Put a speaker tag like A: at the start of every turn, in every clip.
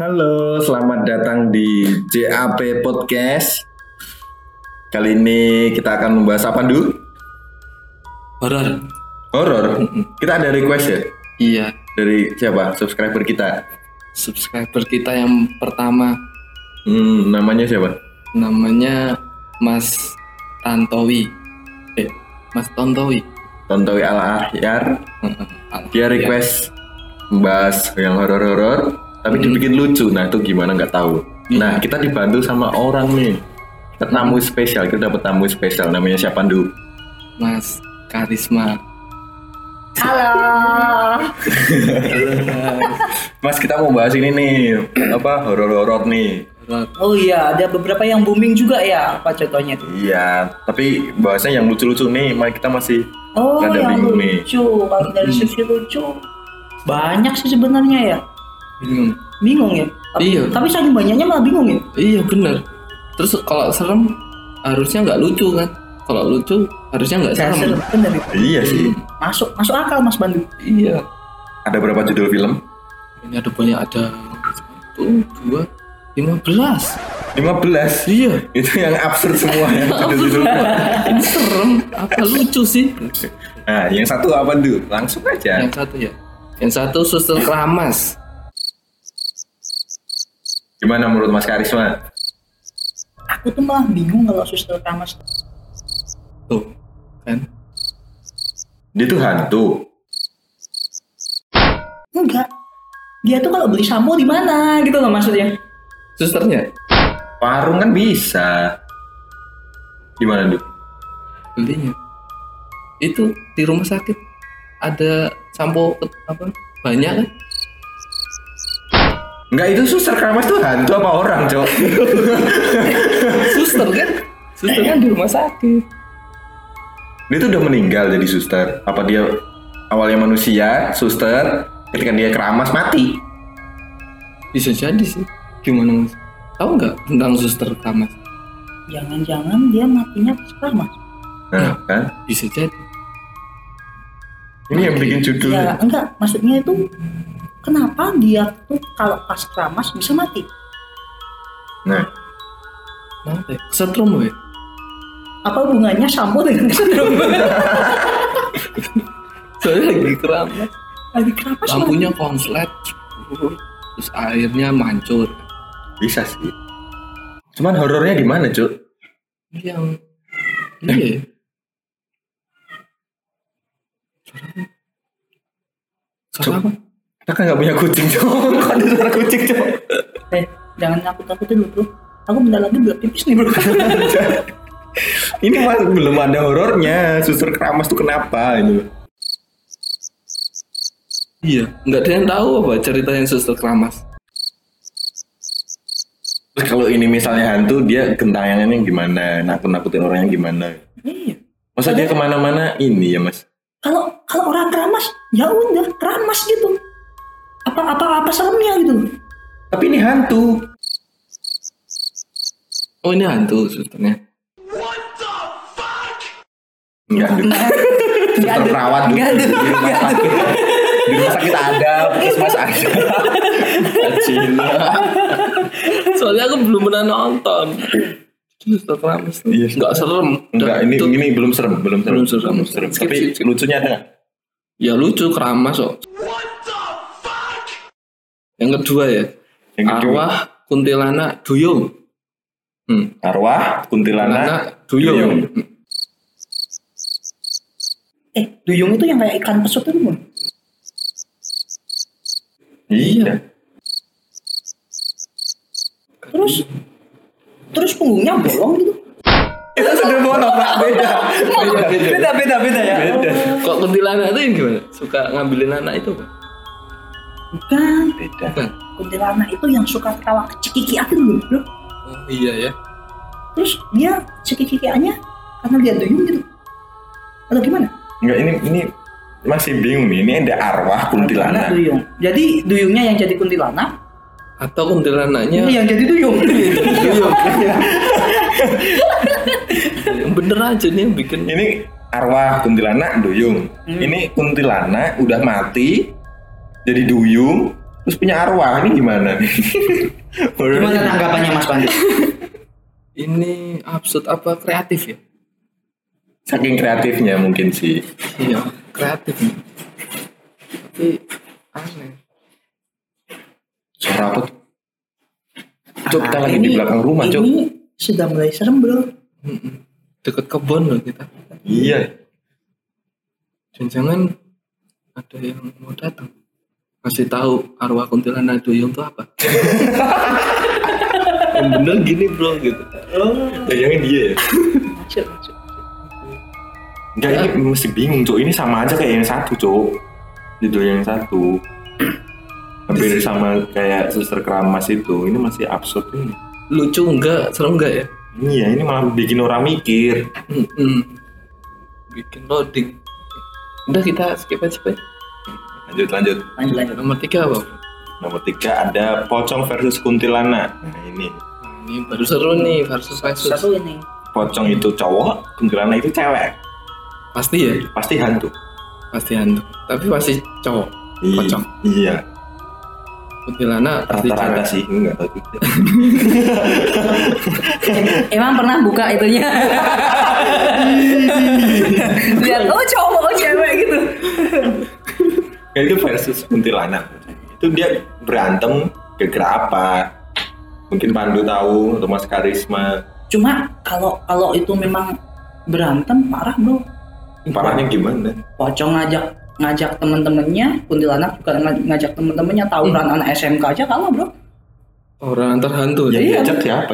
A: Halo, selamat datang di JAP Podcast. Kali ini kita akan membahas apa, Du?
B: Horor.
A: Horor. Kita ada request ya
B: Iya,
A: dari siapa? Subscriber kita.
B: subscriber kita yang pertama
A: Hmm, namanya siapa?
B: namanya Mas Tantowi. Eh, Mas Tontowi.
A: Tontowi Al Ahyar.
B: Al-
A: Dia request membahas yang horor-horor, tapi dibikin lucu. Nah, itu gimana nggak tahu. Nah, kita dibantu sama orang nih. Kita Tamu spesial, kita dapat tamu spesial namanya siapa, Du?
B: Mas Karisma.
C: Halo.
A: Mas, kita mau bahas ini nih, apa horor-horor nih.
B: Horor.
C: Oh iya, ada beberapa yang booming juga ya, apa contohnya tuh?
A: Iya, tapi bahasanya yang lucu-lucu nih, Mike kita masih
C: Oh,
A: Ada
C: yang
A: bingung nih.
C: lucu. Kalau dari
B: Hmm.
C: sisi lucu, banyak sih sebenarnya ya.
B: Bingung.
C: Bingung ya. Tapi,
B: Iya.
C: Tapi saking banyaknya malah bingung ya.
B: Iya, bener. Terus kalau serem harusnya nggak lucu kan? Kalau lucu harusnya nggak serem.
C: Dasar, bener ya.
A: Iya sih.
C: Masuk, masuk akal Mas Bandu.
B: Iya.
A: Ada berapa judul film?
B: Ini ada banyak ada satu, dua, lima belas.
A: 15.
B: Iya.
A: Itu yang absurd semua ya judul-judul.
B: Ini serem. Apa lucu sih?
A: Nah, yang satu apa, Du? Langsung aja.
B: Yang satu ya. Yang satu suster keramas.
A: Gimana menurut Mas Karisma?
C: Aku tuh malah bingung kalau suster kamas.
B: Tuh, kan.
A: Dia tuh hantu.
C: Enggak. Dia tuh kalau beli sampo di mana gitu loh maksudnya.
B: Susternya
A: Warung kan bisa. Gimana, Du?
B: belinya. Itu di rumah sakit ada sampo ke- apa? Banyak kan?
A: Enggak, itu suster keramas tuh hantu apa orang, Cok?
B: Suster kan? Suster kan di rumah sakit.
A: dia tuh udah meninggal jadi suster. Apa dia awalnya manusia, suster, ketika dia keramas mati.
B: Bisa jadi sih. Gimana mas? Tahu nggak tentang suster keramas?
C: Jangan-jangan dia matinya pas keramas.
A: Nah, kan?
B: Bisa jadi.
A: Ini yang bikin judulnya.
C: Ya, enggak. Maksudnya itu kenapa dia tuh kalau pas keramas bisa mati?
A: Nah,
B: Kenapa? ya? Kesetrum ya?
C: apa hubungannya sampo dengan kesetrum
B: Soalnya lagi keramas.
C: lagi kenapa sih
B: Lampunya konslet. Terus airnya mancur.
A: bisa sih. Cuman horornya di mana, Cuk?
B: Yang iya. Suara apa?
A: Kita kan nggak punya kucing, Cuk. Kok ada suara kucing, Cuk?
C: eh, jangan takut takutin lu bro aku bentar lagi udah pipis nih bro
A: Ini mas, belum ada horornya. Suster keramas tuh kenapa gitu. ini?
B: Iya. Nggak ada yang tahu apa cerita yang suster keramas.
A: Terus kalau ini misalnya hantu, dia gentayangannya gimana? Nakut-nakutin orangnya gimana?
C: iya
A: Masa dia kemana-mana ini ya, Mas?
C: kalau kalau orang keramas ya udah keramas gitu apa apa apa seremnya gitu
A: Tapi ini hantu.
B: Oh ini hantu susternya.
A: Enggak, Du.
C: Nggak
A: Suster
C: ada.
A: perawat, Du.
C: Nggak ada.
A: Di rumah sakit. Di rumah sakit ada, puskesmas ada. Cina.
B: Soalnya aku belum pernah nonton. Suster keramas tuh
A: Iya,
B: nggak serem.
A: Enggak,
B: Dan
A: ini
B: itu-
A: ini belum serem, belum serem.
B: Belum serem. Skip,
A: Tapi
B: skip, skip.
A: lucunya ada nggak?
B: ya lucu keramas kok. Yang kedua ya.
A: Yang kedua.
B: Arwah kuntilanak duyung. Hmm.
A: Arwah, kuntilanak,
B: Kuntilanak duyung.
A: duyung.
C: eh duyung itu yang kayak ikan pesut itu bro
A: Iya.
C: terus terus punggungnya bolong gitu
A: Kita sudah mau nolak beda. Beda, beda.
C: beda beda ya
A: Beda.
B: Kok kuntilanak itu yang gimana? Suka ngambilin anak itu apa?
C: bukan
A: Beda.
B: Bukan.
C: kuntilanak itu yang suka ketawa cekikian dulu bro
B: Oh, iya ya.
C: terus dia cekikiannya karena dia duyung gitu atau gimana
A: Enggak, ini ini masih bingung nih. Ini ada arwah
C: Karena
A: kuntilanak.
C: duyung. Jadi duyungnya yang jadi kuntilanak,
B: Atau Iya.
C: Iya,
B: kuntilanaknya
C: ini yang jadi duyung.
B: duyung. Yang bener aja nih yang bikin.
A: ini arwah kuntilanak duyung ini kuntilanak udah mati jadi duyung terus punya arwah ini gimana nih
D: Gimana tanggapannya Mas Pandu?
B: Ini absurd apa kreatif ya?
A: saking kreatifnya mungkin sih
B: Iya, kreatif. nih. Tapi aneh.
A: suara apa tuh Cuk, kita
C: Ah,
A: lagi di
C: ini-
A: belakang rumah, Cuk.
C: Ini sudah mulai serem, bro.
B: Mm-mm. Deket kebun loh kita.
A: iya
B: Jangan-jangan ada yang mau datang. Kasih tahu arwah kuntilanak duyung itu "Iya, apa? yang bener gini bro gitu.
A: bayangin dia ya
C: Masuk, masuk.
A: enggak ini mesti bingung cok ini sama aja kayak yang satu cok judul yang satu hampir sama kayak suster keramas itu ini masih absurd ini
B: Lucu enggak? Serem enggak ya?
A: iya ini malah bikin orang mikir
B: Mm-mm. Bikin loading. Udah kita skip aja Pak.
A: lanjut lanjut
D: Lanjut lanjut.
B: Nomor tiga bang.
A: nomor tiga ada pocong versus kuntilanak nah ini
B: Ini baru seru nih versus versus.
D: Satu ini.
A: pocong itu cowok kuntilanak itu cewek
B: Pasti ya,
A: pasti hantu
B: pasti hantu. Tapi pasti cowok.
A: I-
B: Pocong.
A: iya
B: Kuntilanak pasti
A: rata-rata
B: cewek.
A: sih enggak tahu juga
C: Eh,
D: Emang pernah buka itunya? Lihat, oh cowok, oh cewek gitu.
A: Kayak itu versus kuntilanak itu dia berantem gara-gara apa mungkin Pandu tahu atau Mas Karisma
C: Cuma kalau kalau itu memang berantem parah, bro.
A: parahnya gimana
C: Pocong ngajak ngajak temen-temennya, kuntilanak juga nga- ngajak temen-temennya tawuran anak SMK aja kalah, bro.
B: Orang antar hantu. ya?
A: yang
C: Iya.
A: diajak siapa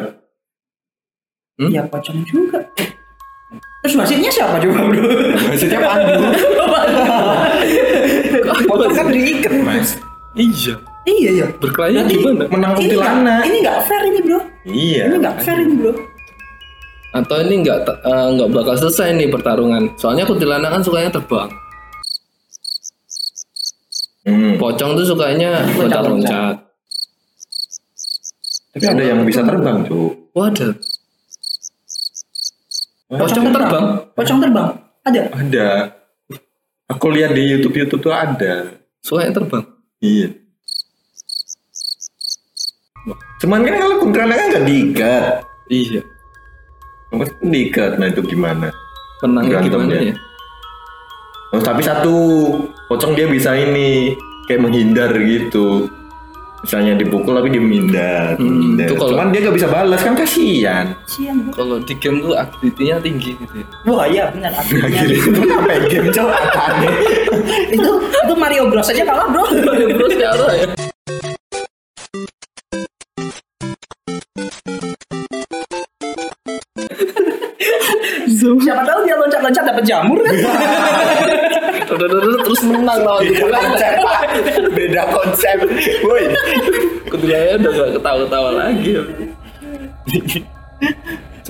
B: Hmm?
C: Ya pocong juga. Terus wasitnya siapa coba, bro?
A: maksudnya Pandu pocong kan diikat mas
B: Iya.
C: iya, iya.
B: Berkelahi
A: menang
B: gimana?
C: Ini nggak
A: kuntilanak
C: ini nggak fair ini, bro.
A: iya
C: Ini nggak fair ini, bro.
B: Atau ini nggak te- eh, nggak bakal selesai nih pertarungan. Soalnya kuntilanak kan sukanya terbang.
A: Hmm.
B: Pocong tuh sukanya loncat-loncat.
A: tapi ada yang bisa terbang cuk
B: Waduh. Pocong terbang.
C: Pocong terbang. Ada.
A: ada aku lihat di YouTube YouTube tuh ada
B: Sukanya terbang.
A: iya cuman kan kalau kuntilanak kan nggak diikat
B: Iya.
A: Mungkin diikat nah itu gimana
B: Menangnya
A: Ganteng
B: gimana
A: dia.
B: ya?
A: Oh, tapi satu pocong dia bisa ini kayak menghindar gitu. Misalnya dipukul tapi dia menghindar.
B: Hmm,
A: menghindar.
B: itu kalau-
A: Cuman dia nggak bisa balas kan kasihan.
C: Sian, bro.
B: Kalau di game tuh aktivitinya tinggi gitu ya.
C: Wah, iya benar. aslinya.
A: Akhirnya itu apa ya, game cowok aneh.
C: itu itu Mario Bros aja kalah, bro.
B: Terus ya, Roy?
C: Siapa tahu dia loncat-loncat dapat jamur kan?
B: Iya. Terus menang lawan kuntilanak.
A: Beda konsep. Woi.
B: Kuntilanaknya udah nggak ketawa-ketawa lagi. ya.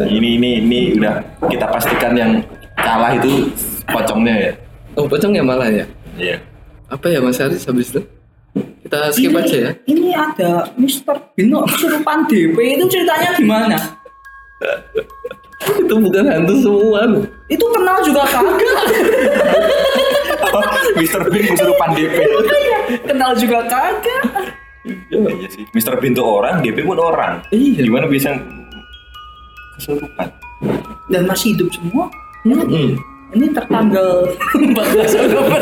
A: ini ini ini udah kita pastikan yang kalah itu pocongnya ya.
B: Oh pocong ya malah ya.
A: Iya.
B: Apa ya Mas Haris habis itu? Kita skip
C: Ini-
B: aja ya.
C: Ini ada Mr. Bino kesurupan DP itu ceritanya gimana?
B: Itu bukan hantu semua loh.
C: Itu kenal juga kagak.
A: Mr. Oh, Bean kesurupan DP.
C: Iya. kenal juga kagak.
A: Iya sih. Mr. Bean tuh orang, DP pun orang.
B: Iya.
A: Gimana bisa kesurupan?
C: Dan masih hidup semua. Iya.
A: Hmm.
C: Ini tertanggal 14 Oktober.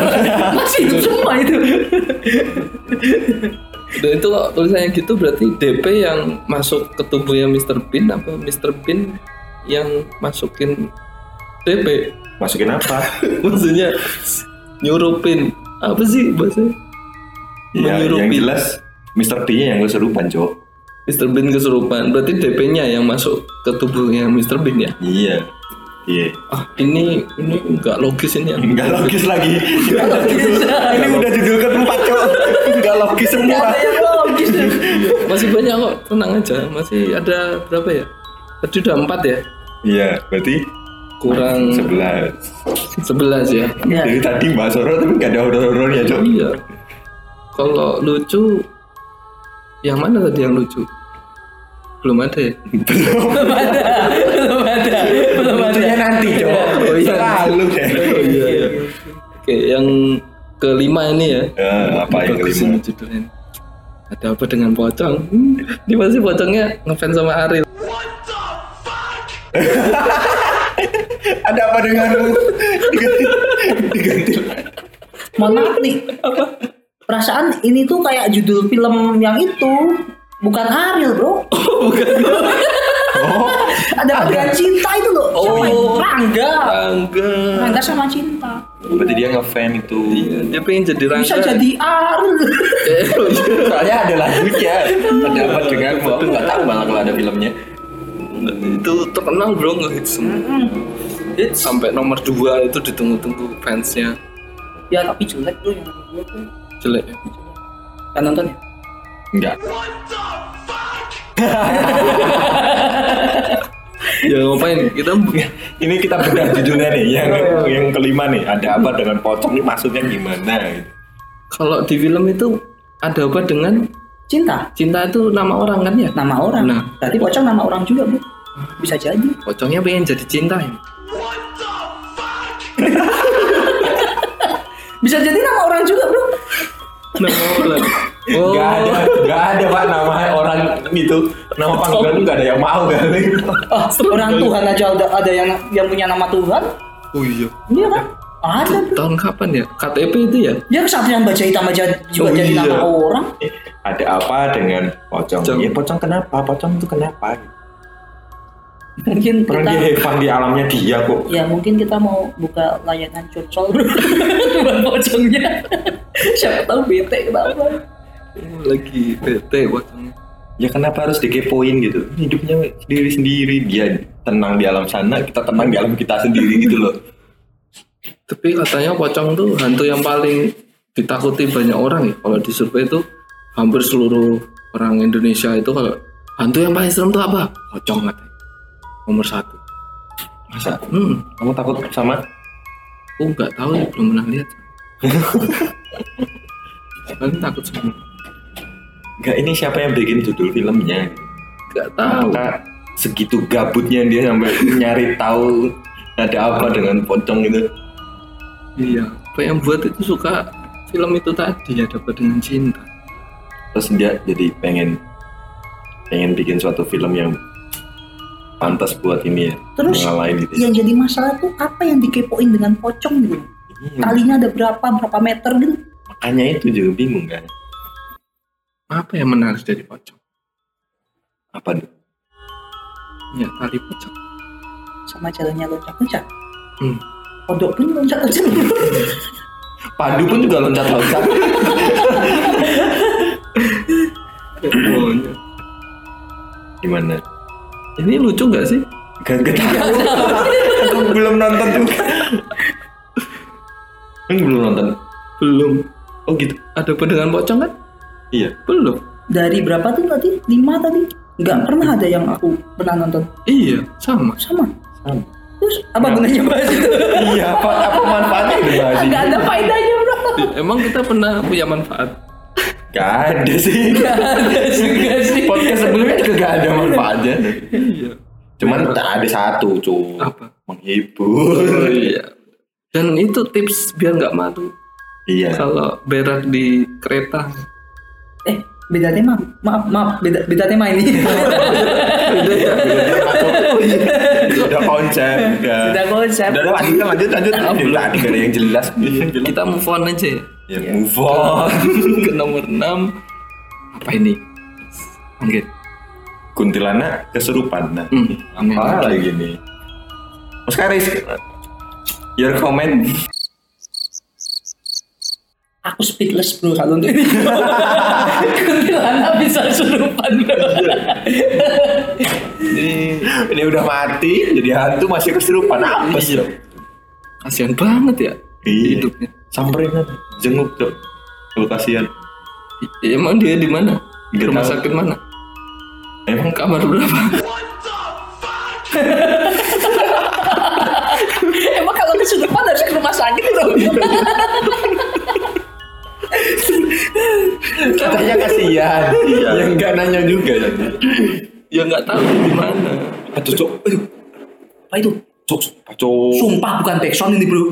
C: Masih hidup semua itu.
B: Dan itu kalau tulisannya gitu berarti DP yang masuk ke tubuhnya Mr. Bean apa Mr. Bean yang masukin DP?
A: Masukin apa?
B: Maksudnya nyurupin apa sih bahasanya?
A: Ya, yang
B: Menyurupin.
A: jelas Mr. P nya yang kesurupan cok
B: Mr. Bean kesurupan. Berarti DP-nya yang masuk ke tubuhnya Mr. Bean ya?
A: iya iya
B: Ah, ini ini nggak logis ini. ya.
A: nggak logis lagi Nggak logis. ini udah judul keempat cok nggak logis semua
C: logis deh.
B: Masih banyak kok, tenang aja. Masih ada berapa ya? Tadi udah empat ya?
A: iya berarti
B: Kurang
A: sebelas
B: sebelas ya?
C: Ya.
A: jadi tadi bahas horor tapi nggak ada horor-horornya cok
B: Iya. Kalau lucu, yang mana tadi yang lucu? Belum ada ya?
C: Belum ada. Belum ada. Belum ada.
A: nanti cowok
B: Oh, iya.
A: selalu deh
B: Oh, iya, iya. Oke, yang kelima ini ya.
A: Ya, apa yang
B: Bagus
A: kelima?
B: ini judulnya. Ada apa dengan pocong? Hmm, dia pasti pocongnya ngefans sama Ariel.
A: ada apa denganmu diganti diganti
C: Mohon maaf nih. Perasaan ini tuh kayak judul film yang itu. Bukan Ariel bro.
A: oh
C: Ada bagian cinta itu loh.
B: Oh.
C: Siapa itu? Oh, Rangga.
B: Enggak.
C: Rangga sama cinta.
A: berarti dia ngefan itu
B: Dia pengen jadi rangka.
C: Bisa jadi Ariel.
B: Eh, oh, iya.
A: soalnya ada lagunya ada apa denganmu aku nggak tahu malah kalau ada filmnya
B: itu terkenal bro ngehits semua. Hits. sampai nomor dua itu ditunggu-tunggu fansnya
C: Ya tapi jelek bro yang gue tuh.
B: jelek ya.
C: Kan nonton ya?
A: enggak
B: ya ngapain kita
A: ini kita bedah judulnya nih yang yang kelima nih ada apa dengan pocong ini maksudnya gimana
B: kalau di film itu ada apa dengan
C: Cinta.
B: cinta itu nama orang kan ya
C: Nama orang.
B: Nah.
C: Berarti pocong nama orang juga bro. Bisa jadi.
B: pocongnya pengen jadi cinta ya
C: Bisa jadi nama orang juga bro.
B: nama orang Nah, oh
A: Gak ada, gak ada pak nama orang itu nama panggilan gak ada yang mau kali.
C: Oh, orang Tuhan aja ada, ada yang yang punya nama Tuhan.
B: oh iya
C: Iya kan? Ada bro.
B: tahun kapan ya KTP itu ya
C: Dia kesatuan baca hitam aja juga
B: Oh,
C: jadi
B: iya.
C: nama orang.
A: Ada apa dengan pocong?
B: Pocong.
A: Ya pocong kenapa? Pocong itu kenapa?
C: Mungkin
A: Orang
C: kita
A: dia hebat di alamnya dia kok.
C: ya mungkin kita mau buka layanan curcol bro. buat pocongnya. Siapa tahu bete kenapa.
B: Oh, lagi bete pocongnya
A: Ya kenapa harus dikepoin gitu? Hidupnya sendiri sendiri dia tenang di alam sana, kita tenang di alam kita sendiri gitu loh.
B: tapi katanya pocong tuh hantu yang paling ditakuti banyak orang ya kalau di survei itu hampir seluruh orang Indonesia itu kalau hantu yang paling serem tuh apa pocong katanya nomor satu
A: Masa
B: hmm
A: kamu takut sama?
B: aku nggak tahu ya belum pernah lihat Soalnya takut semua
A: Gak ini siapa yang bikin judul filmnya?
B: nggak tahu
A: Maka segitu gabutnya dia sampai nyari tahu ada apa dengan pocong gitu.
B: iya apa yang buat itu suka film itu tadi ya dapat dengan cinta
A: terus dia jadi pengen pengen bikin suatu film yang pantas buat ini ya
C: Terus
A: ngalahin gitu ya.
C: yang jadi masalah tuh apa yang dikepoin dengan pocong gitu?
A: Hmm.
C: Talinya ada berapa berapa meter gitu?
A: makanya itu juga bingung kan
B: apa yang menarik dari pocong
A: apa tuh?
B: ya tali pocong
C: sama jalannya loncat-loncat.
B: Hmm.
C: Kodok pun loncat-loncat.
A: padu pun juga loncat loncat gimana
B: ini lucu nggak sih
A: gak gak tahu. Aku belum nonton juga Kamu belum nonton
B: belum
A: oh gitu
B: ada apa dengan pocong kan
A: iya
B: belum
C: Dari berapa tuh tadi? Lima tadi? Nggak
A: Hmm.
C: pernah ada yang aku pernah nonton.
B: Iya, sama.
C: Sama.
A: Sama.
C: Terus
A: Nah.
C: apa gunanya bahas itu?
A: iya apa apa manfaatnya dari bahas ini?
C: Nggak ada faedahnya bro.
B: Iya, Emang kita pernah punya manfaat?
A: gak ada sih
C: Nggak ada juga sih.
A: podcast sebelumnya juga gak ada manfaatnya
B: Iya.
A: cuman tak ada satu cuy
B: Apa?
A: menghibur
B: iya. Dan itu tips biar nggak malu
A: iya
B: kalau berak di kereta.
C: Eh, beda tema. Maaf, maaf, beda, beda tema ini.
A: udah konsep udah
C: beda konsep.
A: udah lanjut lanjut lanjut lanjut tadi gak ada yang jelas
B: Iya. Kita move on aja ya.
A: ya move
B: Oh.
A: on
B: Ke nomor 6. Apa ini? Mungkin.
A: kuntilanak kesurupan nah
B: Hmm. angin.
A: apa lagi nih Mas Karis your comment
C: Aku speedless bro kalau untuk ini. Kuntilanak bisa surupan bro.
A: ini ini udah mati jadi hantu masih kesurupan apa sih dok?
B: Kasihan banget ya
A: Iya.
B: Iya. hidupnya.
A: samperin aja. jenguk dok lu kasihan
B: I- Iya, Emang dia di mana?
A: Nggak
B: Rumah
A: tahu.
B: sakit mana?
A: emang
B: Kamar berapa?
C: Emang kalau kesurupan harus ke rumah sakit bro.
A: katanya kasihan iya. yang gak nanya juga ya
B: ya nggak tahu dia di mana.
A: aduh cok aduh
C: apa itu?
A: Cuk, sumpah, cuk.
C: Sumpah bukan backsound ini bro.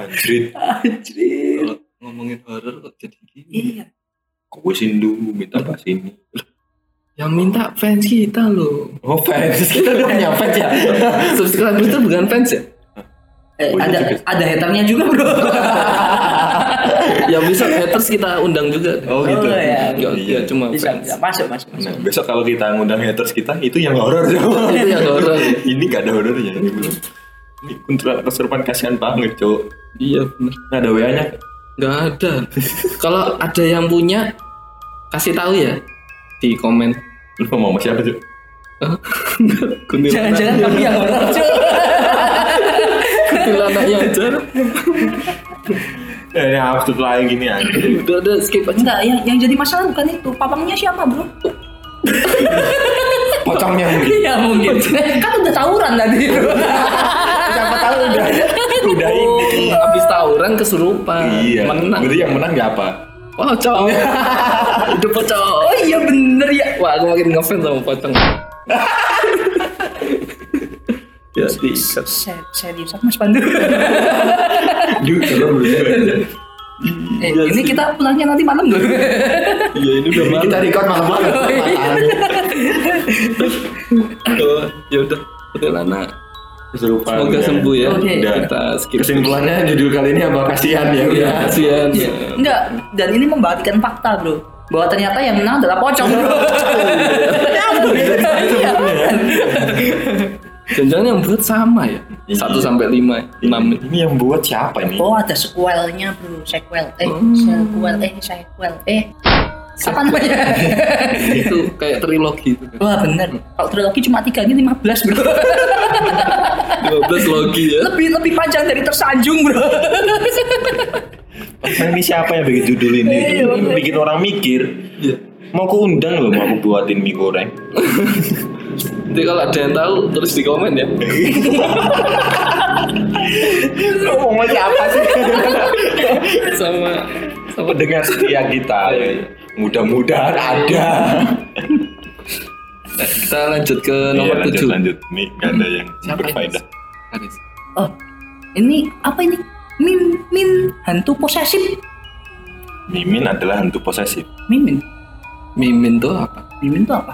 A: Anjrit.
C: Anjir.
B: Kalau ngomongin horor kok jadi gini.
C: Iya.
A: Kowe sindu minta pas ini.
B: Yang minta fans kita loh.
A: Oh, fans.
C: Kita udah punya fans ya.
B: Subscriber itu bukan fans ya?
C: Eh,
A: Oh, iya
C: ada
A: juga.
C: ada haternya juga bro.
B: Yang bisa haters kita undang juga.
A: Oh, gitu.
C: Oh, iya.
B: Nggak,
A: Iya.
B: nggak cuma
C: bisa
B: fans.
C: bisa masuk masuk masuk.
A: Nah, besok kalau kita ngundang haters kita itu yang horor Cuk.
B: Itu yang horor.
A: ini gak ada horornya ini belum. Ini Kuntilanak kesurupan kasihan banget, Cuk.
B: Iya benar.
A: Nah, ada WA-nya.
B: Nggak ada. Kalau ada yang punya kasih tahu ya di komen.
A: Lu ngomong sama siapa, Cuk?
B: Hah? Nggak, kuntilanak.
C: Jangan-jangan kami yang horor cuy.
B: kuntilanak yang jarang.
A: Eh, ini absurd lagi gini anjir.
B: Udah udah skip aja.
C: Enggak, yang yang jadi masalah bukan itu. Papangnya siapa, Bro?
A: Pocongnya mungkin.
C: Iya, mungkin.
E: kan udah tawuran tadi bro
A: Siapa tahu udah udah iya. ini.
B: Oh, habis tawuran kesurupan.
A: Iya.
B: Menang.
A: Berarti yang menang gak apa?
B: Pocong. Udah pocong.
C: Oh iya bener ya.
B: Wah, aku makin ngefans sama pocong.
A: Ya, di.
C: Se- Serius Mas Pandu.
A: Duh, serem banget.
C: Eh, ini kita pulangnya nanti malam loh.
A: Iya, ini udah malam. Kita record malam-malam.
B: Oh, ya udah. Kuntilanak.
A: Kesurupan.
B: Semoga
A: ya.
B: sembuh ya.
C: Oke.
B: Udah kita skip.
A: Kesimpulannya judul kali ini apa kasihan ya
B: Ya,
A: udah.
B: kasihan.
C: Iya. Enggak, dan ini membalikan fakta, Bro. Bahwa ternyata yang menang adalah pocong, Bro. Iya, bener.
B: Jangan-jangan yang buat sama ya.
A: Iya.
B: Satu sampai lima, enam.
A: Ini yang buat siapa ini?
E: oh ada sequelnya bro sequel eh
C: Hmm.
E: sequel eh sequel eh
C: Apa namanya?
B: Itu kayak trilogi itu. kan.
C: Wah, bener. Kalau trilogi cuma tiga ini 15, Bro.
B: 12 logi ya.
C: Lebih lebih panjang dari tersanjung, Bro.
A: Emang ini siapa yang bikin judul ini?
C: Iya,
A: Ini bikin orang mikir.
B: Iya.
A: Mau aku undang loh, mau aku buatin mie goreng.
B: Nanti kalau ada yang tahu terus di komen ya.
A: Ngomong siapa sih?
B: Sama sama
A: Pendengar setia kita.
B: Iya,
A: Mudah-mudahan ada.
B: kita lanjut ke
A: Iya,
B: nomor
A: lanjut,
B: tujuh.
A: lanjut. Ini gak ada yang
B: Siapa ini?
A: berfaedah.
B: Haris.
C: Oh, ini apa ini? Min min hantu posesif.
A: Mimin adalah hantu posesif.
C: Mimin.
B: Mimin tuh apa?
C: Mimin itu apa?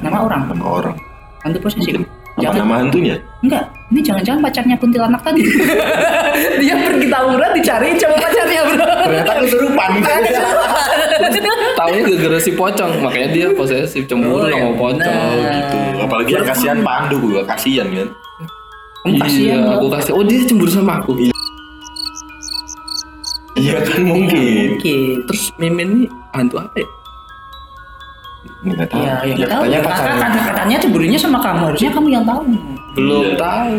C: Nama orang?
A: Nama orang.
C: Hantu posesif.
A: Mungkin. Apa
C: Jangan
A: nama hantunya?
C: enggak. Ini jangan-jangan pacarnya kuntilanak tadi. Dia pergi tawuran dicari cowok pacarnya, Bro.
A: Ternyata kesurupan.
B: Taunya gara-gara si pocong, makanya dia posesif cemburu
C: Oh, Nah. ya
B: sama pocong
C: benar.
B: gitu.
A: Apalagi yang kasihan Pandu, gua kasihan kan.
C: Kamu kasihan,
B: Iya,
C: Bro.
B: aku kasih. Oh, dia cemburu sama aku.
A: Iya kan mungkin.
C: Mungkin.
B: Terus Mimin ini hantu apa ya?
A: Nggak tahu.
C: Iya, ya,
A: Ya,
C: nggak tahu.
A: katanya
C: Kakak
A: pacarnya.
C: kata- katanya cemburunya sama kamu. Harusnya kamu yang tahu.
B: Belum
A: Iya.
B: tahu.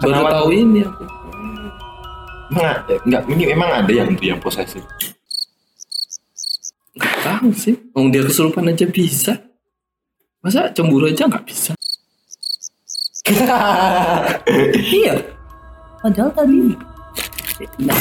B: Baru
A: Kenapa?
B: tahu ini aku.
A: Enggak, enggak, ini emang ada yang hantu yang posesif.
B: Nggak tahu sih. Wong dia kesurupan aja bisa. Masa cemburu aja nggak bisa?
C: Iya. Padahal tadi Nah,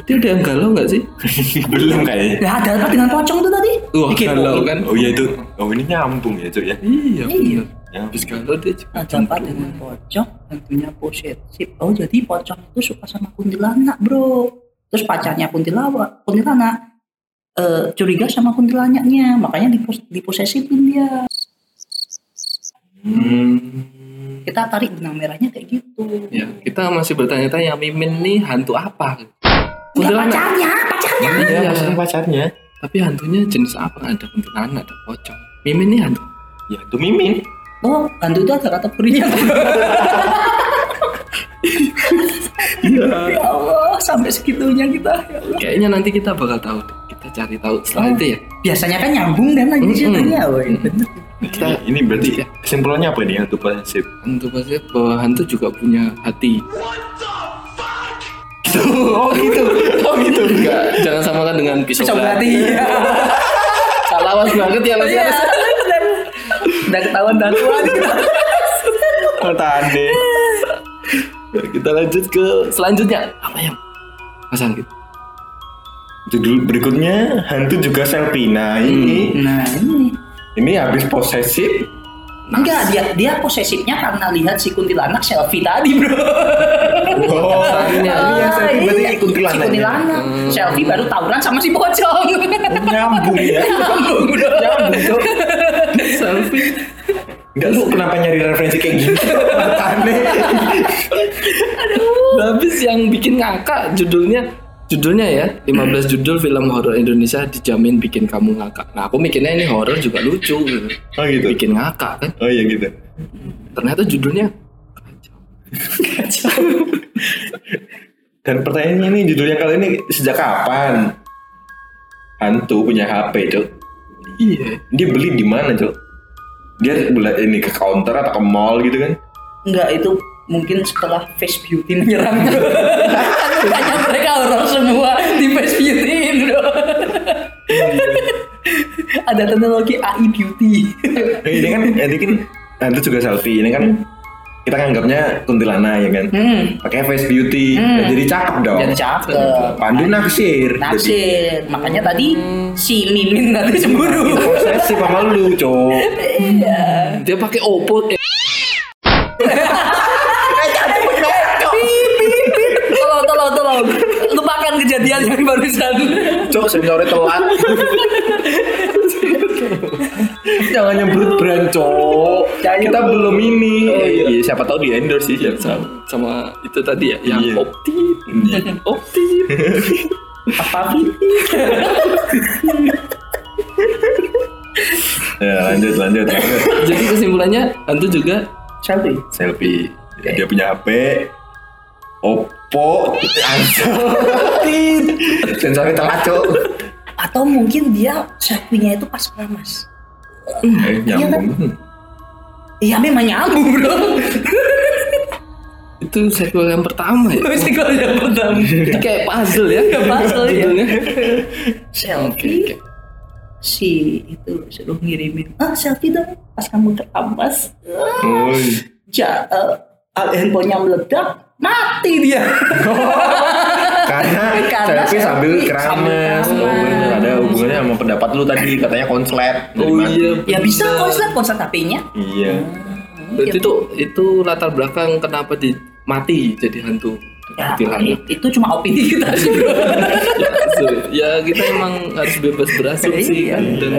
B: Tadi udah yang galau nggak sih?
A: Belum kayaknya.
C: nah, ada apa dengan pocong tuh tadi?
B: Wah,
C: Dikepoin.
B: galau kan?
A: Oh iya itu. Oh ini nyambung ya, Cuk ya.
B: Iya. Iya.
C: Iya.
A: Nyambung.
B: Habis galau dia juga.
C: Ada apa dengan pocong? Tentunya posesif. Oh jadi pocong itu suka sama kuntilanak bro. Terus pacarnya kuntilawa, kuntilanak eh, curiga sama kuntilanaknya, makanya dipos diposesifin dia.
A: Hmm.
C: Kita tarik benang merahnya kayak gitu.
B: Ya, kita masih bertanya-tanya Mimin nih hantu apa?
C: Enggak
B: Kuntilanak.
C: pacarnya, pacarnya.
A: Iya,
B: Iya.
A: maksudnya pacarnya.
B: Tapi hantunya jenis apa? Ada kuntilanak, ada pocong. Mimin nih hantu.
A: Ya itu Mimin.
C: Oh, hantu itu ada kategorinya. ya Allah, sampai segitunya kita. Ya Allah.
B: Kayaknya nanti kita bakal tahu. deh. Kita cari tahu setelah itu ya.
C: Biasanya kan nyambung dan lagi
B: Mm-mm.
C: ceritanya, woi.
A: Ini, Nah, ini berarti
B: Iya.
A: kesimpulannya apa ini hantu posesif?
B: Hantu pasti bahwa hantu juga punya hati.
A: oh gitu. Oh gitu.
B: Enggak, jangan samakan dengan pisau
C: Coba Ya,
B: belati.
C: hati.
B: Salah awas banget ya Mas
C: Iya,
B: Yanes.
C: benar. Udah ketahuan dakwaan.
A: Oh tande. Nah,
B: Kita lanjut ke selanjutnya. Apa yang Mas Anggit?
A: Judul berikutnya hantu juga selfie. Nah ini
C: Nah, ini
A: ini habis posesif
C: Enggak, dia dia posesifnya karena lihat si kuntilanak selfie tadi, Bro.
F: Oh, tadinya iya saya
C: Ah,
F: berarti
C: iya.
F: ikut
C: Si
F: kuntilanak.
C: kuntilanak. Selfie baru tawuran sama si pocong.
A: Nyambung ya.
C: Nyambung, Bro.
A: Nyambung, Cuk.
B: selfie
A: Enggak lu kenapa nyari referensi kayak gini? Aneh.
B: habis yang bikin ngakak judulnya judulnya ya 15 judul film horor Indonesia dijamin bikin kamu ngakak nah aku mikirnya ini horor juga lucu gitu.
A: Oh gitu.
B: bikin ngakak kan
A: Oh iya gitu.
B: ternyata judulnya
A: Dan pertanyaannya ini judulnya kali ini sejak kapan? Hantu punya HP, Cuk.
B: iya
A: Dia beli di mana, Cuk? Dia beli ini ke counter atau ke mall gitu kan?
C: Enggak, itu mungkin setelah face beauty menyerang. Kayaknya mereka horor semua di face beauty, Bro. Ada teknologi AI beauty. Iya.
A: Nah, ini kan ini kan hantu juga selfie. Ini kan kita nganggapnya kuntilanak ya kan.
C: Hmm.
A: Pakai face beauty. Nah, jadi cakep dong.
C: Jadi cakep.
A: Pandu naksir. Jadi
C: Naksir. Makanya tadi si Mimin tadi cemburu.
A: posesif sama lu, Cuk.
B: dia pakai Oppo eh,
C: tolong tolong tolong lupakan kejadian yang barusan
A: Cok seniornya telat Jangan nyebut brand cok
C: Jangan
A: Kita
C: nyebut.
A: belum ini Iya, Siapa tahu di endorse sih siapa tahu.
B: sama itu tadi ya yang
A: Iya.
B: Opti Opti
C: apa sih
A: Ya lanjut lanjut lanjut.
B: jadi kesimpulannya hantu juga
C: selfie
A: Selfie Dia punya HP Oppo Ansel Sensornya telat cok
E: Atau mungkin dia selfie-nya itu pas keramas.
A: Eh, Nyambung
C: iya memang nyambung bro
B: itu sequel yang pertama ya
C: itu kalau yang pertama
B: Ini kayak puzzle ya
C: Kayak puzzle, ya.
B: judulnya Oke,
C: selfie
B: oke.
C: si itu suruh ngirimin ah selfie dong pas kamu keramas
A: kan?
C: Ah,
A: Oi.
C: ja eh, ah, handphonenya meledak mati dia
A: Karena
C: Karena
A: selfie sambil
C: selfie
A: keramas
C: sambil
A: Oh bener
C: keramas.
A: ada hubungannya sama pendapat lu tadi Katanya konslet Dari
B: oh
A: mana?
B: iya
C: ya bisa
B: bener.
C: konslet konslet HP-nya
A: Iya
B: Berarti itu itu latar belakang kenapa di mati jadi hantu
C: ya,
B: kuntilanak.
C: itu cuma opini kita sih bro
B: ya, so- ya, kita emang harus bebas berasumsi
C: Iya,
B: kan dan
C: kan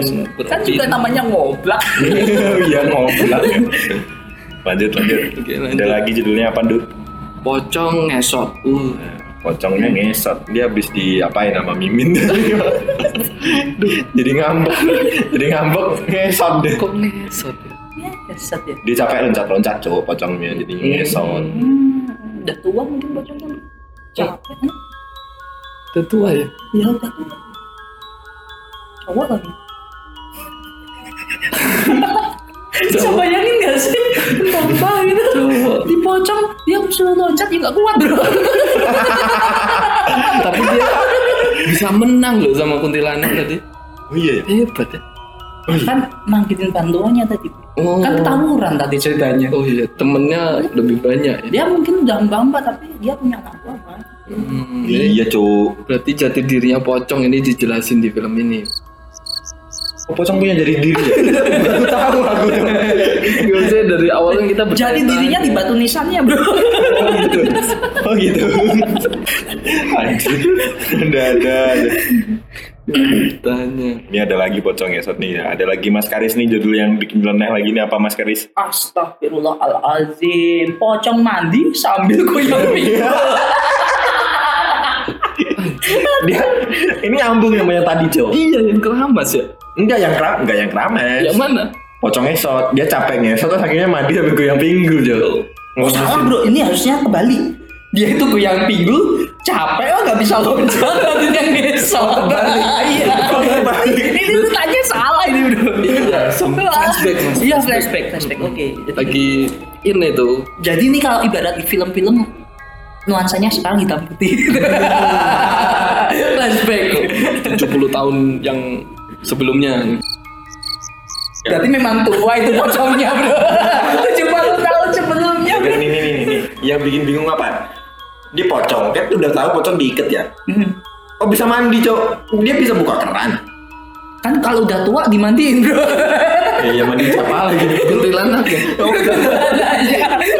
B: beropini.
C: juga namanya ngoblak
A: Iya mau bilang ya. Lanjut lanjut.
B: Oke, lanjut.
A: Ada lagi judulnya apa, Dut?
B: pocong ngesot. Uh,
A: Pocongnya ngesot. Dia habis diapain sama Mimin Jadi ngambek. Jadi ngambek ngesot deh.
C: Iya.
B: kok ngesot? ya?
C: ya keset ya
A: Dia capek loncat-loncat cowok pocongnya jadi ngesot.
C: Hmm, udah tua mungkin bocahnya
B: Ya.
C: capek kan?
B: Udah tua ya?
C: ya udah tua cowok lagi Bisa bayangin gak sih? Tambah gitu Dipocong Dia suruh loncat Ya gak kuat bro
B: Tapi dia bisa menang loh sama kuntilanak tadi.
A: Oh iya ya.
B: Hebat ya.
A: Oh iya.
C: Kan manggilin bantuannya tadi
B: Oh.
C: Kan tawuran tadi ceritanya
B: Oh iya, temennya lebih banyak ya.
C: Dia mungkin udah mbak Tapi dia punya anak buah kan?
B: Hmm,
A: Iya cowok.
B: Berarti jati dirinya pocong ini dijelasin di film ini.
A: Oh, pocong punya jadi diri ya. Baru tahu aku tuh.
B: Biasanya dari awal kan kita bertanya.
C: Jadi dirinya di batu nisannya bro
A: Oh gitu. Oh gitu. Anjir. Udah ada. ada.
B: Tanya.
A: Ini ada lagi pocong ngesot nih. Ada lagi Mas Karis nih judul yang bikin nyeleneh lagi nih apa Mas Karis?
C: Astagfirullahalazim Pocong mandi Sambil goyang mie
A: dia ini nyambung yang banyak tadi Jo
B: Iya yang keramas ya.
A: enggak yang kram enggak yang keramas
B: Yang mana?
A: pocong ngesot dia capek ngesot terus akhirnya mandi sampai goyang pinggul Jo
C: Salah Oh, ah, bro, ini harusnya kebalik. Dia itu goyang pinggul, capek oh nggak bisa loncat, nantinya ngesot. Iya. Ini ini tuh tanya salah ini bro. Iya,
B: flashback, Mas.
C: Iya flashback, flashback. Oke.
B: Lagi ini tuh.
C: Jadi ini kalau ibarat di film-film nuansanya sekarang hitam putih. flashback.
B: 70 tahun yang sebelumnya.
C: Berarti memang tua itu pocongnya bro. 70 tahun sebelumnya.
A: dan ini nih nih nih yang bikin bingung apa dia pocong dia tuh udah tahu pocong diikat ya
C: Hmm.
A: oh bisa mandi Jo dia bisa buka keran
C: Kan kalau udah tua dimandiin bro.
A: ya ya mandi siapa lagi
B: kuntilanak ya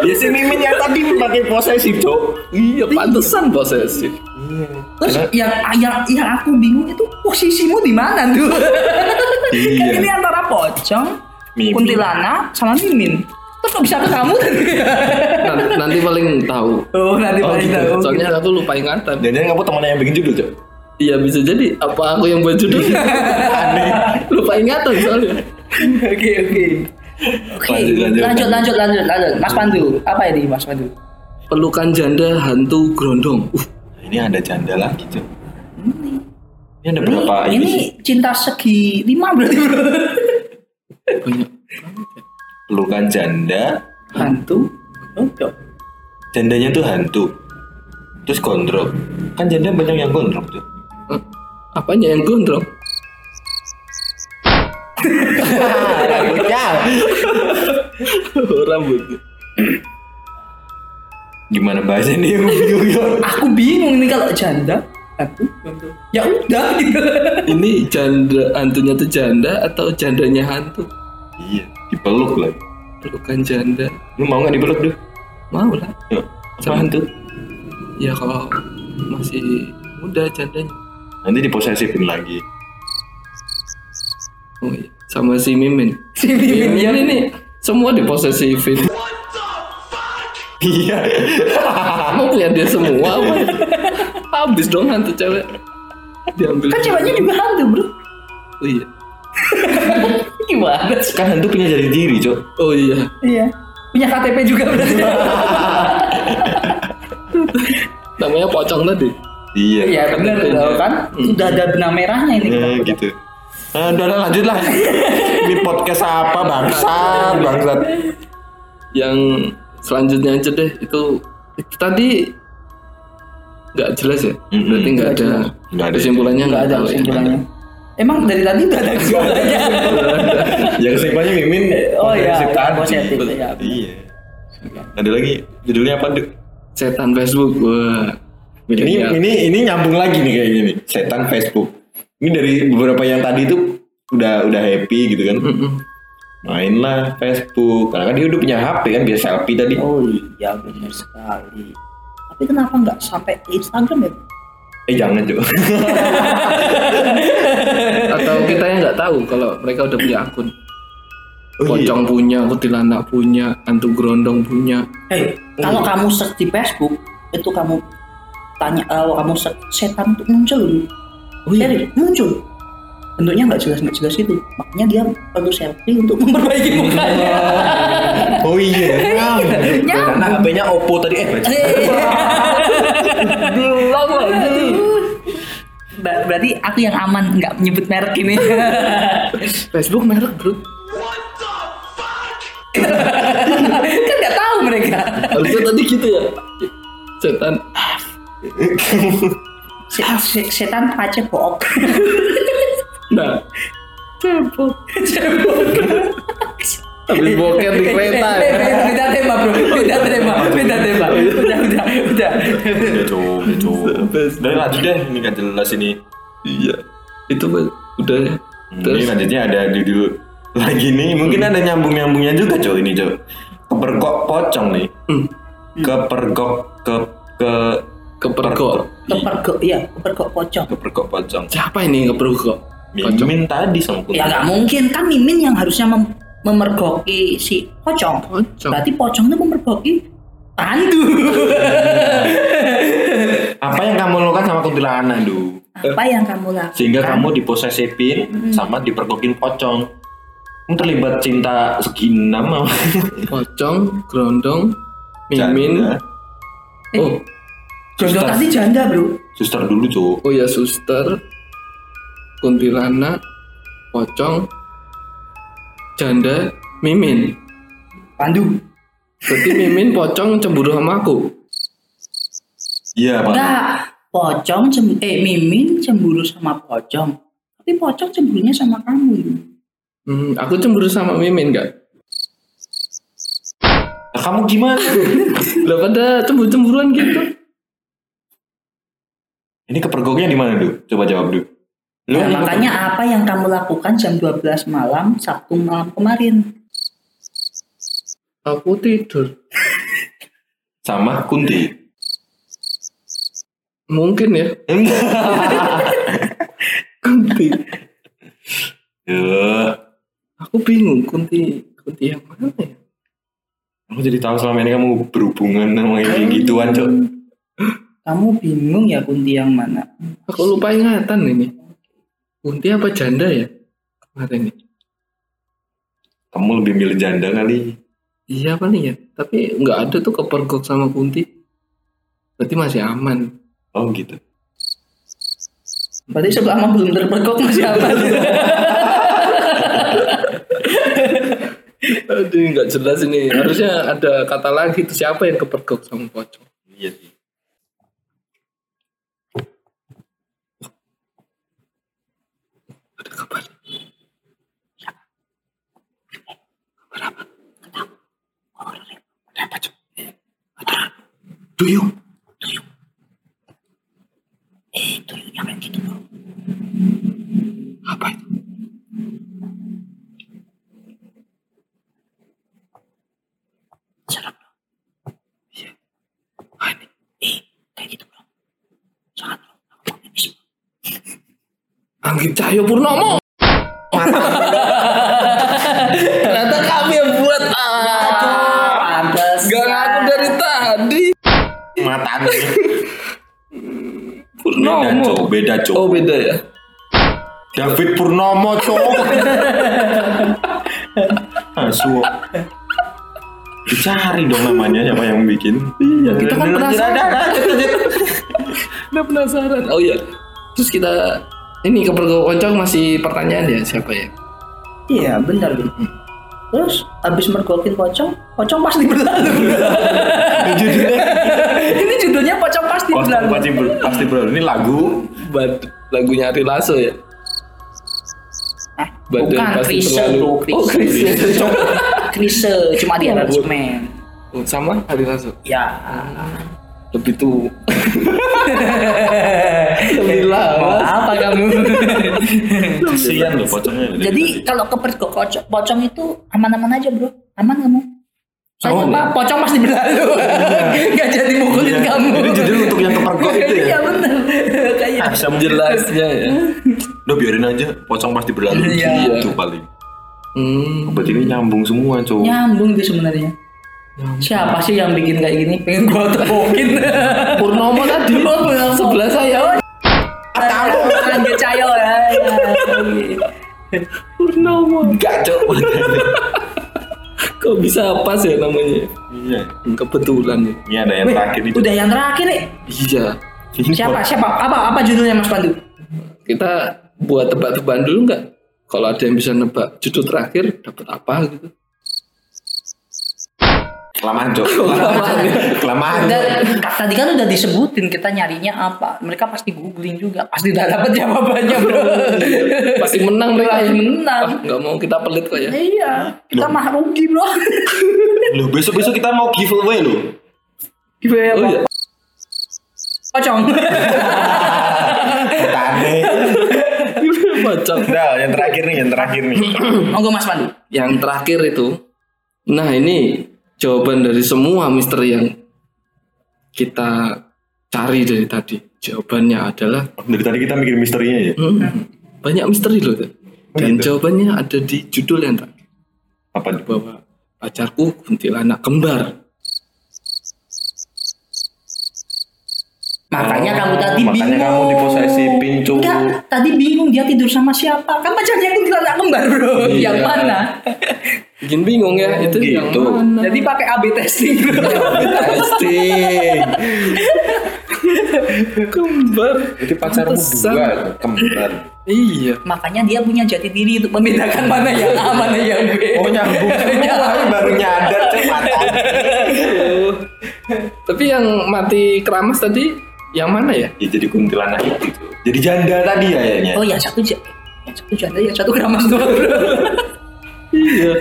A: ya si mimin yang tadi pakai posesif cok
B: iya pantesan posesif
C: Terus yang yang yang aku bingung itu posisimu di mana tuh? Kan ini
A: iya
C: antara pocong,
A: Mimin.
C: kuntilanak sama mimin. Terus kok bisa ketemu?
B: nanti, Nah, nanti paling tahu
C: oh nanti
A: Oh,
C: paling
A: gitu.
C: tahu.
B: soalnya aku lupa ingatan
A: jangan kamu temannya yang bikin judul cok
B: iya bisa jadi apa aku yang buat judul
A: Nah,
B: lupa ingatan soalnya
C: Oke oke. Oke,
A: Lanjut, lanjut,
C: lanjut lanjut lanjut lanjut. Mas Pandu, apa ini Mas Pandu?
B: pelukan janda hantu grondong uh,
A: ini ada janda lagi cok ini ada berapa
C: ini, ini cinta segi lima berarti bro.
B: banyak
A: pelukan janda
C: Hantu, untuk
A: jandanya tuh hantu terus gondrong kan janda banyak yang gondrong tuh
B: Eh, apanya yang gondrong rambutnya
A: gimana bahasa ini Bingung, bingung.
C: Aku bingung nih kalau janda. Hantu, untuk ya udah gitu.
B: ini janda hantunya tuh janda atau jandanya hantu
A: iya dipeluk lah
B: pelukan janda
A: lu mau nggak dipeluk tuh
B: mau lah
A: Yuk, sama hantu
B: ya kalau masih muda jandanya
A: nanti diposesifin lagi
B: Oh iya, sama si Mimin. Si Mimin,
C: Iya.
B: ini semua diposesifin.
A: iya
B: Mau punya dia semua apa? Habis dong hantu cewek. Diambil.
C: Kan ceweknya juga hantu bro.
B: Oh iya.
C: Gimana?
A: kan hantu punya jari diri cok
B: Oh iya.
C: Iya. Punya KTP juga berarti.
B: Namanya pocong tadi.
A: iya
C: Iya benar dong kan. Udah ada benang merahnya ini.
A: Nah, gitu Ah, udah lah, lanjut lah ini podcast apa bangsat bangsat
B: Yang selanjutnya aja deh itu itu tadi nggak jelas ya.
A: Mm-mm.
B: Berarti nggak ada
A: Nggak ada.
B: kesimpulannya nggak
C: Enggak ada
B: tahu ya.
C: kesimpulannya. Emang dari tadi udah ada kesimpulannya.
A: yang sifatnya Ya, mimin
C: Oh iya,
A: posesif
C: yang
A: tadi.
C: posesif, iya.
A: iya ada lagi judulnya apa Duk?
B: Setan Facebook. Wah.
A: ini
B: Milenial.
A: ini ini nyambung lagi nih kayaknya nih setan Facebook ini dari beberapa yang tadi tuh udah udah happy gitu kan
B: Mm-mm.
A: mainlah Facebook karena kan dia udah punya HP kan biasa selfie tadi
C: Oh iya benar sekali. Tapi kenapa nggak sampai Instagram ya?
A: eh jangan Jo
B: Atau kita yang nggak tahu kalau mereka udah punya akun.
A: Oh, iya.
B: Pocong punya, kuntilanak punya, hantu grondong punya.
A: Eh,
C: Hei, kalau kamu search di Facebook itu kamu tanya kalau kamu search setan itu muncul
B: Oh
A: iya.
C: Serius, muncul bentuknya nggak jelas nggak jelas itu makanya dia perlu selfie untuk memperbaiki mukanya
A: oh iya nyambung
C: Nyambung.
A: karena HP-nya Oppo tadi eh baca.
C: Iya. belum lagi berarti aku yang aman nggak menyebut merek ini
B: Facebook merek bro.
C: kan nggak tahu mereka
A: Ah.
B: Harusnya tadi gitu ya. Setan.
C: Se- se- setan pace bohong
B: Nah. Cebok. Cebok. Habis boker di kereta. ya.
C: Eh, eh, eh, beda tema bro beda tema beda tema udah udah udah
A: Udah, Jo, udah, Jo. Iya, Udah, lanjut deh ini gak jelas ini
B: Iya. Itu Mas. udah ya.
A: ini
B: Terus
A: lanjutnya ada judul lagi nih mungkin ada nyambung nyambungnya juga Jo ini Jo kepergok pocong nih
B: Hmm.
A: kepergok ke ke
B: kepergok.
C: kepergok ya kepergok pocong
A: kepergok pocong
B: Siapa ini yang kepergok? Pocong.
A: Mimin tadi sama
C: Ya
A: kuntilanak.
C: nggak mungkin kan Mimin yang harusnya mem- memergoki si pocong.
B: Pocong.
C: Berarti pocong itu memergoki hantu.
A: Apa yang kamu lakukan sama kuntilanak, Du?
C: Apa yang kamu lakukan?
A: Sehingga kamu diposesifin sama dipergokin pocong. Kamu terlibat cinta segi enam sama
B: Pocong, grondong, mimin.
A: Janda.
C: Eh,
B: Oh,
C: jodoh tadi janda bro.
A: Suster dulu, Jo.
B: oh ya suster. Kuntilanak, pocong, janda, mimin.
C: Pandu.
B: Berarti mimin pocong cemburu sama aku.
A: Iya, Pak.
C: Enggak. Pocong cemburu, eh Mimin cemburu sama pocong. Tapi pocong cemburunya sama kamu. Yu.
B: Hmm, aku cemburu sama Mimin gak?
A: Nah, kamu gimana?
B: Lah pada cemburu-cemburuan gitu.
A: Ini kepergoknya di mana, Du? Coba jawab, Du. Lu
C: Nah,
A: ngikut-
C: makanya apa yang kamu lakukan jam 12 malam Sabtu malam kemarin?
B: Aku tidur.
A: sama Kunti.
B: Mungkin ya. Kunti.
A: Eh,
B: Aku bingung kunti kunti yang mana ya?
A: aku jadi tahu selama ini kamu berhubungan sama yang kayak gituan, Cok.
C: Kamu bingung ya kunti yang mana?
B: Aku lupa ingatan ini. Kunti apa janda ya? Kemarin ya.
A: Kamu lebih milih janda kali.
B: Iya paling ya. Tapi nggak ada tuh kepergok sama kunti. Berarti masih aman.
A: Oh gitu.
C: Berarti sebelum belum terpergok masih apa?
B: Aduh nggak jelas ini. Harusnya ada kata lagi tuh siapa yang kepergok sama pocong.
A: Iya sih.
B: Ada kabar.
F: Duyung.
B: Anggit Cahyo Purnomo. Ternyata kami yang buat.
C: Aduh, pantes.
B: Gak ngaku dari tadi.
A: Mata Beda,
B: Purnomo.
A: Cok. Beda, Cok.
B: Oh beda ya.
A: David Purnomo, Cok. Asu. Ah, Dicari dong namanya siapa yang bikin. Iya,
B: Kita kan penasaran. Kita penasaran. Oh iya. Terus kita ini kepergok pocong masih pertanyaan ya siapa ya?
C: Iya, benar benar. Terus habis mergokin pocong, pocong pasti berlalu. Ini judulnya pocong pasti berlalu.
A: Pasti ber- pasti berlalu. Ini lagu
B: Bad, lagunya Ari Lasso ya.
C: Hah?
B: Badan
C: Bukan
B: pasti
C: Krise,
B: berlalu.
C: bro.
B: Oh, Krise.
C: Krise. Krise, cuma
A: Iya,
C: di aransemen.
B: Oh, sama Ari Lasso.
C: Ya.
B: Lebih tuh. Lebih
C: Mau
B: lama.
C: apa kamu?
A: kasihan loh pocongnya.
C: Jadi kalau kepergok pocong, pocong itu aman-aman aja, Bro. Aman kamu. Saya
A: Aman,
C: coba pocong pasti berlalu. Gak jadi mukulin
A: Oh,
C: kamu.
A: iya. Jadi judul untuk yang kepergok itu ya.
C: Iya benar. Kayak
A: Asam
B: Jelasnya ya.
A: Udah biarin aja, pocong pasti berlalu
C: Iya.
A: gitu paling.
B: Hmm.
A: Obat ini nyambung semua, cowok.
C: nyambung tuh sebenarnya. Siapa sih yang bikin kayak gini? Pengen gua tepokin.
B: Purnomo tadi. Sebelah saya.
C: Tahu lanjut cayo ya.
B: Purnomo. Enggak, Cok. Kok bisa pas ya namanya?
A: Iya.
B: Kebetulan ya.
A: Ini ada yang terakhir nih.
C: Udah yang terakhir nih.
B: Iya.
A: Ini
C: Siapa?
A: pot-
C: Siapa? Apa apa judulnya Mas Pandu?
B: Kita buat tebak-tebakan dulu nggak? Kalau ada yang bisa nebak judul terakhir dapat apa gitu?
A: Kelamaan, cowok. Kelamaan. Kelamaan.
C: Dan tadi kan udah disebutin kita nyarinya apa. Mereka pasti googling juga. Pasti udah dapet jawabannya bro.
B: Pasti menang mereka. ya.
C: Pasti menang.
B: Ah, Nggak mau kita pelit kok ya.
C: Iya. Kita mah rugi bro.
A: Loh, besok-besok kita mau giveaway loh.
C: Gimana?
B: Oh iya.
C: Pocong.
A: Tane.
B: Bocor.
A: Udah, yang terakhir nih, yang terakhir nih.
C: Monggo Mas Pandu.
B: Yang terakhir itu. Nah ini jawaban dari semua misteri yang kita cari dari tadi. Jawabannya adalah
A: Dari tadi kita mikir misterinya ya.
B: Hmm. Banyak misteri loh. Teh. Dan
A: Banyak,
B: jawabannya ada di judul yang terakhir.
A: Apa?
B: Bahwa pacarku kuntilanak kembar.
C: Makanya
A: Oh,
C: kamu tadi
A: makanya
C: bingung.
A: kamu diposesifin, Cuk.
C: Enggak, tadi bingung dia tidur sama siapa. Kan pacarnya aku tidak kembar, Bro.
B: Iya.
C: Yang mana?
B: Bikin bingung ya itu yang
A: gitu.
B: mana?
C: Jadi pakai AB testing, Bro.
A: Iya. Testing.
B: kembar.
A: Itu pacarmu
B: Pantesan.
A: dua, kembar.
B: Iya.
C: Makanya dia punya jati diri untuk membedakan mana yang A, mana yang B.
A: Iya. Oh nyambung semua, baru nyadar cok mata.
B: Tuh. Tapi yang mati keramas tadi yang mana ya?
A: Ya jadi kuntilanak itu. Cok. Jadi janda tadi kayaknya.
C: Oh, yang satu ja- yang satu janda, yang satu keramas doang, Bro.
B: Iya.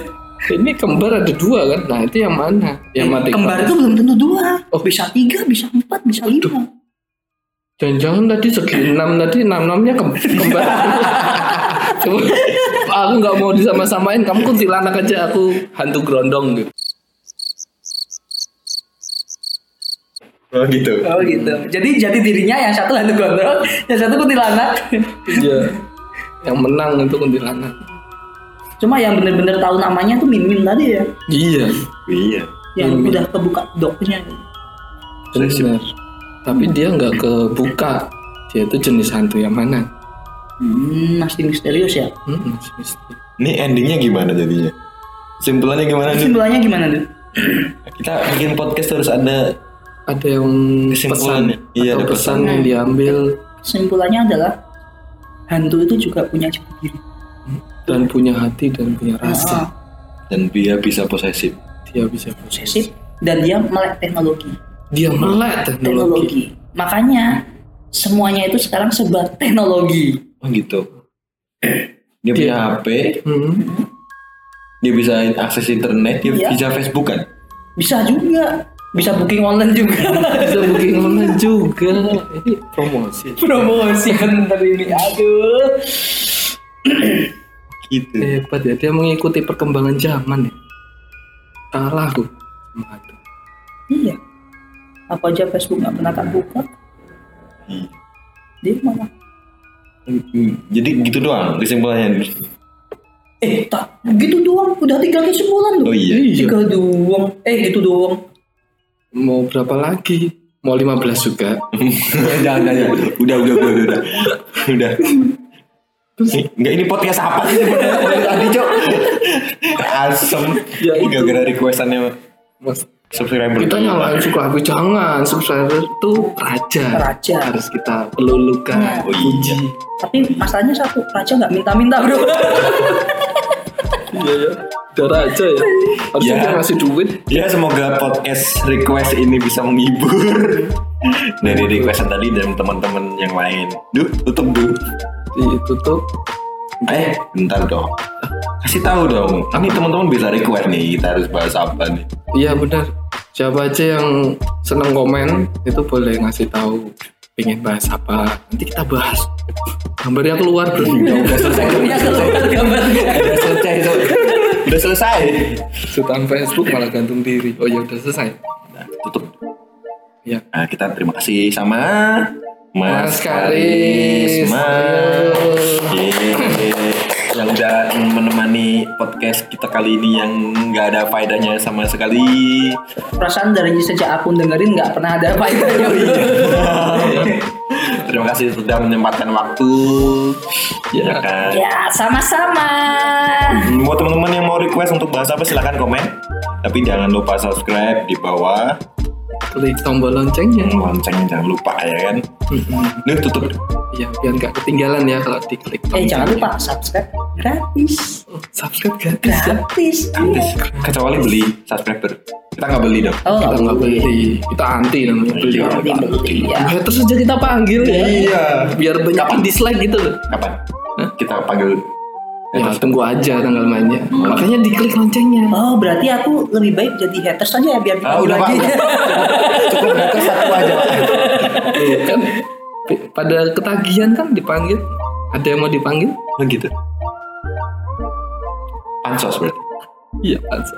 B: Ini kembar ada dua kan? Nah itu yang mana? Yang mati
C: Kembar itu
B: keramas.
C: belum tentu dua.
B: Oh.
C: Bisa tiga, bisa empat, bisa lima.
B: Jangan-jangan tadi segi enam tadi enam enamnya kem kembar. Coba aku nggak mau disama-samain. Kamu kuntilanak aja aku hantu grondong gitu.
F: Oh gitu.
C: Oh gitu. Jadi jadi dirinya yang satu hantu gondrong, yang satu kuntilanak.
B: Iya. Yang menang itu kuntilanak.
C: Cuma yang bener-bener tahu namanya tuh Mimin tadi ya.
B: Iya.
A: Iya.
C: Yang
B: Mimin.
C: udah kebuka doknya.
B: Benar. Tapi dia nggak kebuka. Dia itu jenis hantu yang mana?
C: Hmm, masih misterius ya.
B: Hmm, masih misteri.
A: Ini endingnya gimana jadinya? Simpulannya gimana nih?
C: Kesimpulannya gimana tuh?
A: Kita bikin podcast harus ada
B: ada yang pesan
A: Kesimpulannya. Iya,
B: atau
A: ada
B: pesan
A: pesan.
B: yang diambil
C: Kesimpulannya adalah hantu itu juga punya jati diri.
B: dan punya hati dan punya
C: ah,
B: rasa.
A: dan dia bisa posesif.
B: Dia bisa proses.
C: Posesif dan dia melek teknologi.
B: Dia melek teknologi.
C: Teknologi. Makanya semuanya itu sekarang serba teknologi.
A: Oh gitu. Dia,
B: Dia-
A: punya HP,
B: Hmm.
A: dia bisa akses internet, dia
C: Iya.
A: bisa Facebook kan?
C: Bisa juga. Bisa booking online juga.
B: Bisa booking online juga. Ini promosi.
C: Promosi bener ini. Aduh.
A: Gitu.
B: Hebat ya. Dia mengikuti perkembangan zaman ya. Kalah aku. sama hantu.
C: Iya. Apa aja Facebook nggak pernah tak buka.
A: Iya.
C: Dia malah
A: Hmm, Jadi gitu doang kesimpulannya.
C: eh tak gitu doang udah tiga kali sebulan
A: Oh
C: loh
A: iya.
B: Iya.
C: tiga doang eh gitu doang
B: Mau berapa lagi? Mau 15 juga.
A: jangan jangan. Udah udah udah udah. Udah. udah. Eh, Enggak ini podcast apa sih sebenarnya dari tadi, Cok? Asem.
B: Ya, itu.
A: Gara-gara requestannya
B: Mas,
A: subscriber.
B: kita nyalain suka aku jangan. Subscriber itu raja.
C: Raja.
B: Harus kita pelulukan.
C: Nah.
A: Oh iya.
C: tapi masalahnya satu raja nggak minta-minta bro
B: Iya ya. Udah raja ya. Harusnya
A: Ya.
B: dia ngasih duit.
A: Ya semoga podcast request ini bisa menghibur dari requestan tadi dan teman-teman yang lain. Duh, tutup duh.
B: ditutup
A: Eh, bentar dong. Kasih tahu dong. Ini teman-teman bisa request nih. Kita harus bahas apa nih?
B: iya benar siapa aja yang seneng komen itu boleh ngasih tahu pengen bahas apa nanti kita bahas gambarnya keluar bro
A: Udah selesai.
C: ya keluar gambarnya
A: Udah selesai. Sob. Udah selesai.
B: Sutan Facebook malah gantung diri oh ya udah selesai
A: Nah, tutup.
B: ya
A: Nah, kita terima kasih sama Mas
B: Mas Karis.
A: Karisma. Yeay. yang udah menemani podcast kita kali ini yang nggak ada faedahnya sama sekali.
C: perasaan dari sejak aku dengerin nggak pernah ada faedahnya
A: Iya.
C: bro
A: Terima kasih sudah menyempatkan waktu. Ya kan.
C: ya sama-sama
A: Hmm, Buat teman-teman yang mau request untuk bahas apa silahkan komen. Tapi jangan lupa subscribe di bawah.
B: klik tombol loncengnya
A: Hmm, Loncengnya jangan lupa ya kan. Ini tutup.
B: ya biar nggak ketinggalan ya kalau diklik
C: eh
B: loncengnya.
C: jangan lupa subscribe gratis
B: Oh, subscribe gratis ya
C: gratis iya.
A: Kecuali beli subscriber. Kita nggak beli dong.
C: oh
B: kita
C: nggak
B: nggak
C: boleh
B: beli kita anti namanya beli
A: Iya.
C: Ini beli, ya
B: haters aja kita panggil ya biar banyak yang dislike gitu loh
A: Kapan? Kita panggil.
B: ya tunggu aja tanggal mainnya makanya diklik loncengnya
C: oh berarti aku lebih baik jadi haters aja ya biar
A: Ah, udah pak.
C: lagi
A: Cukup data satu aja. Pak.
B: Iya kan P- pada ketagihan kan dipanggil ada yang mau dipanggil
A: Oh, gitu. Pansos berarti.
B: iya Pak.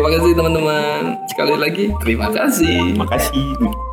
B: terima kasih teman-teman sekali lagi terima kasih
A: Terima kasih.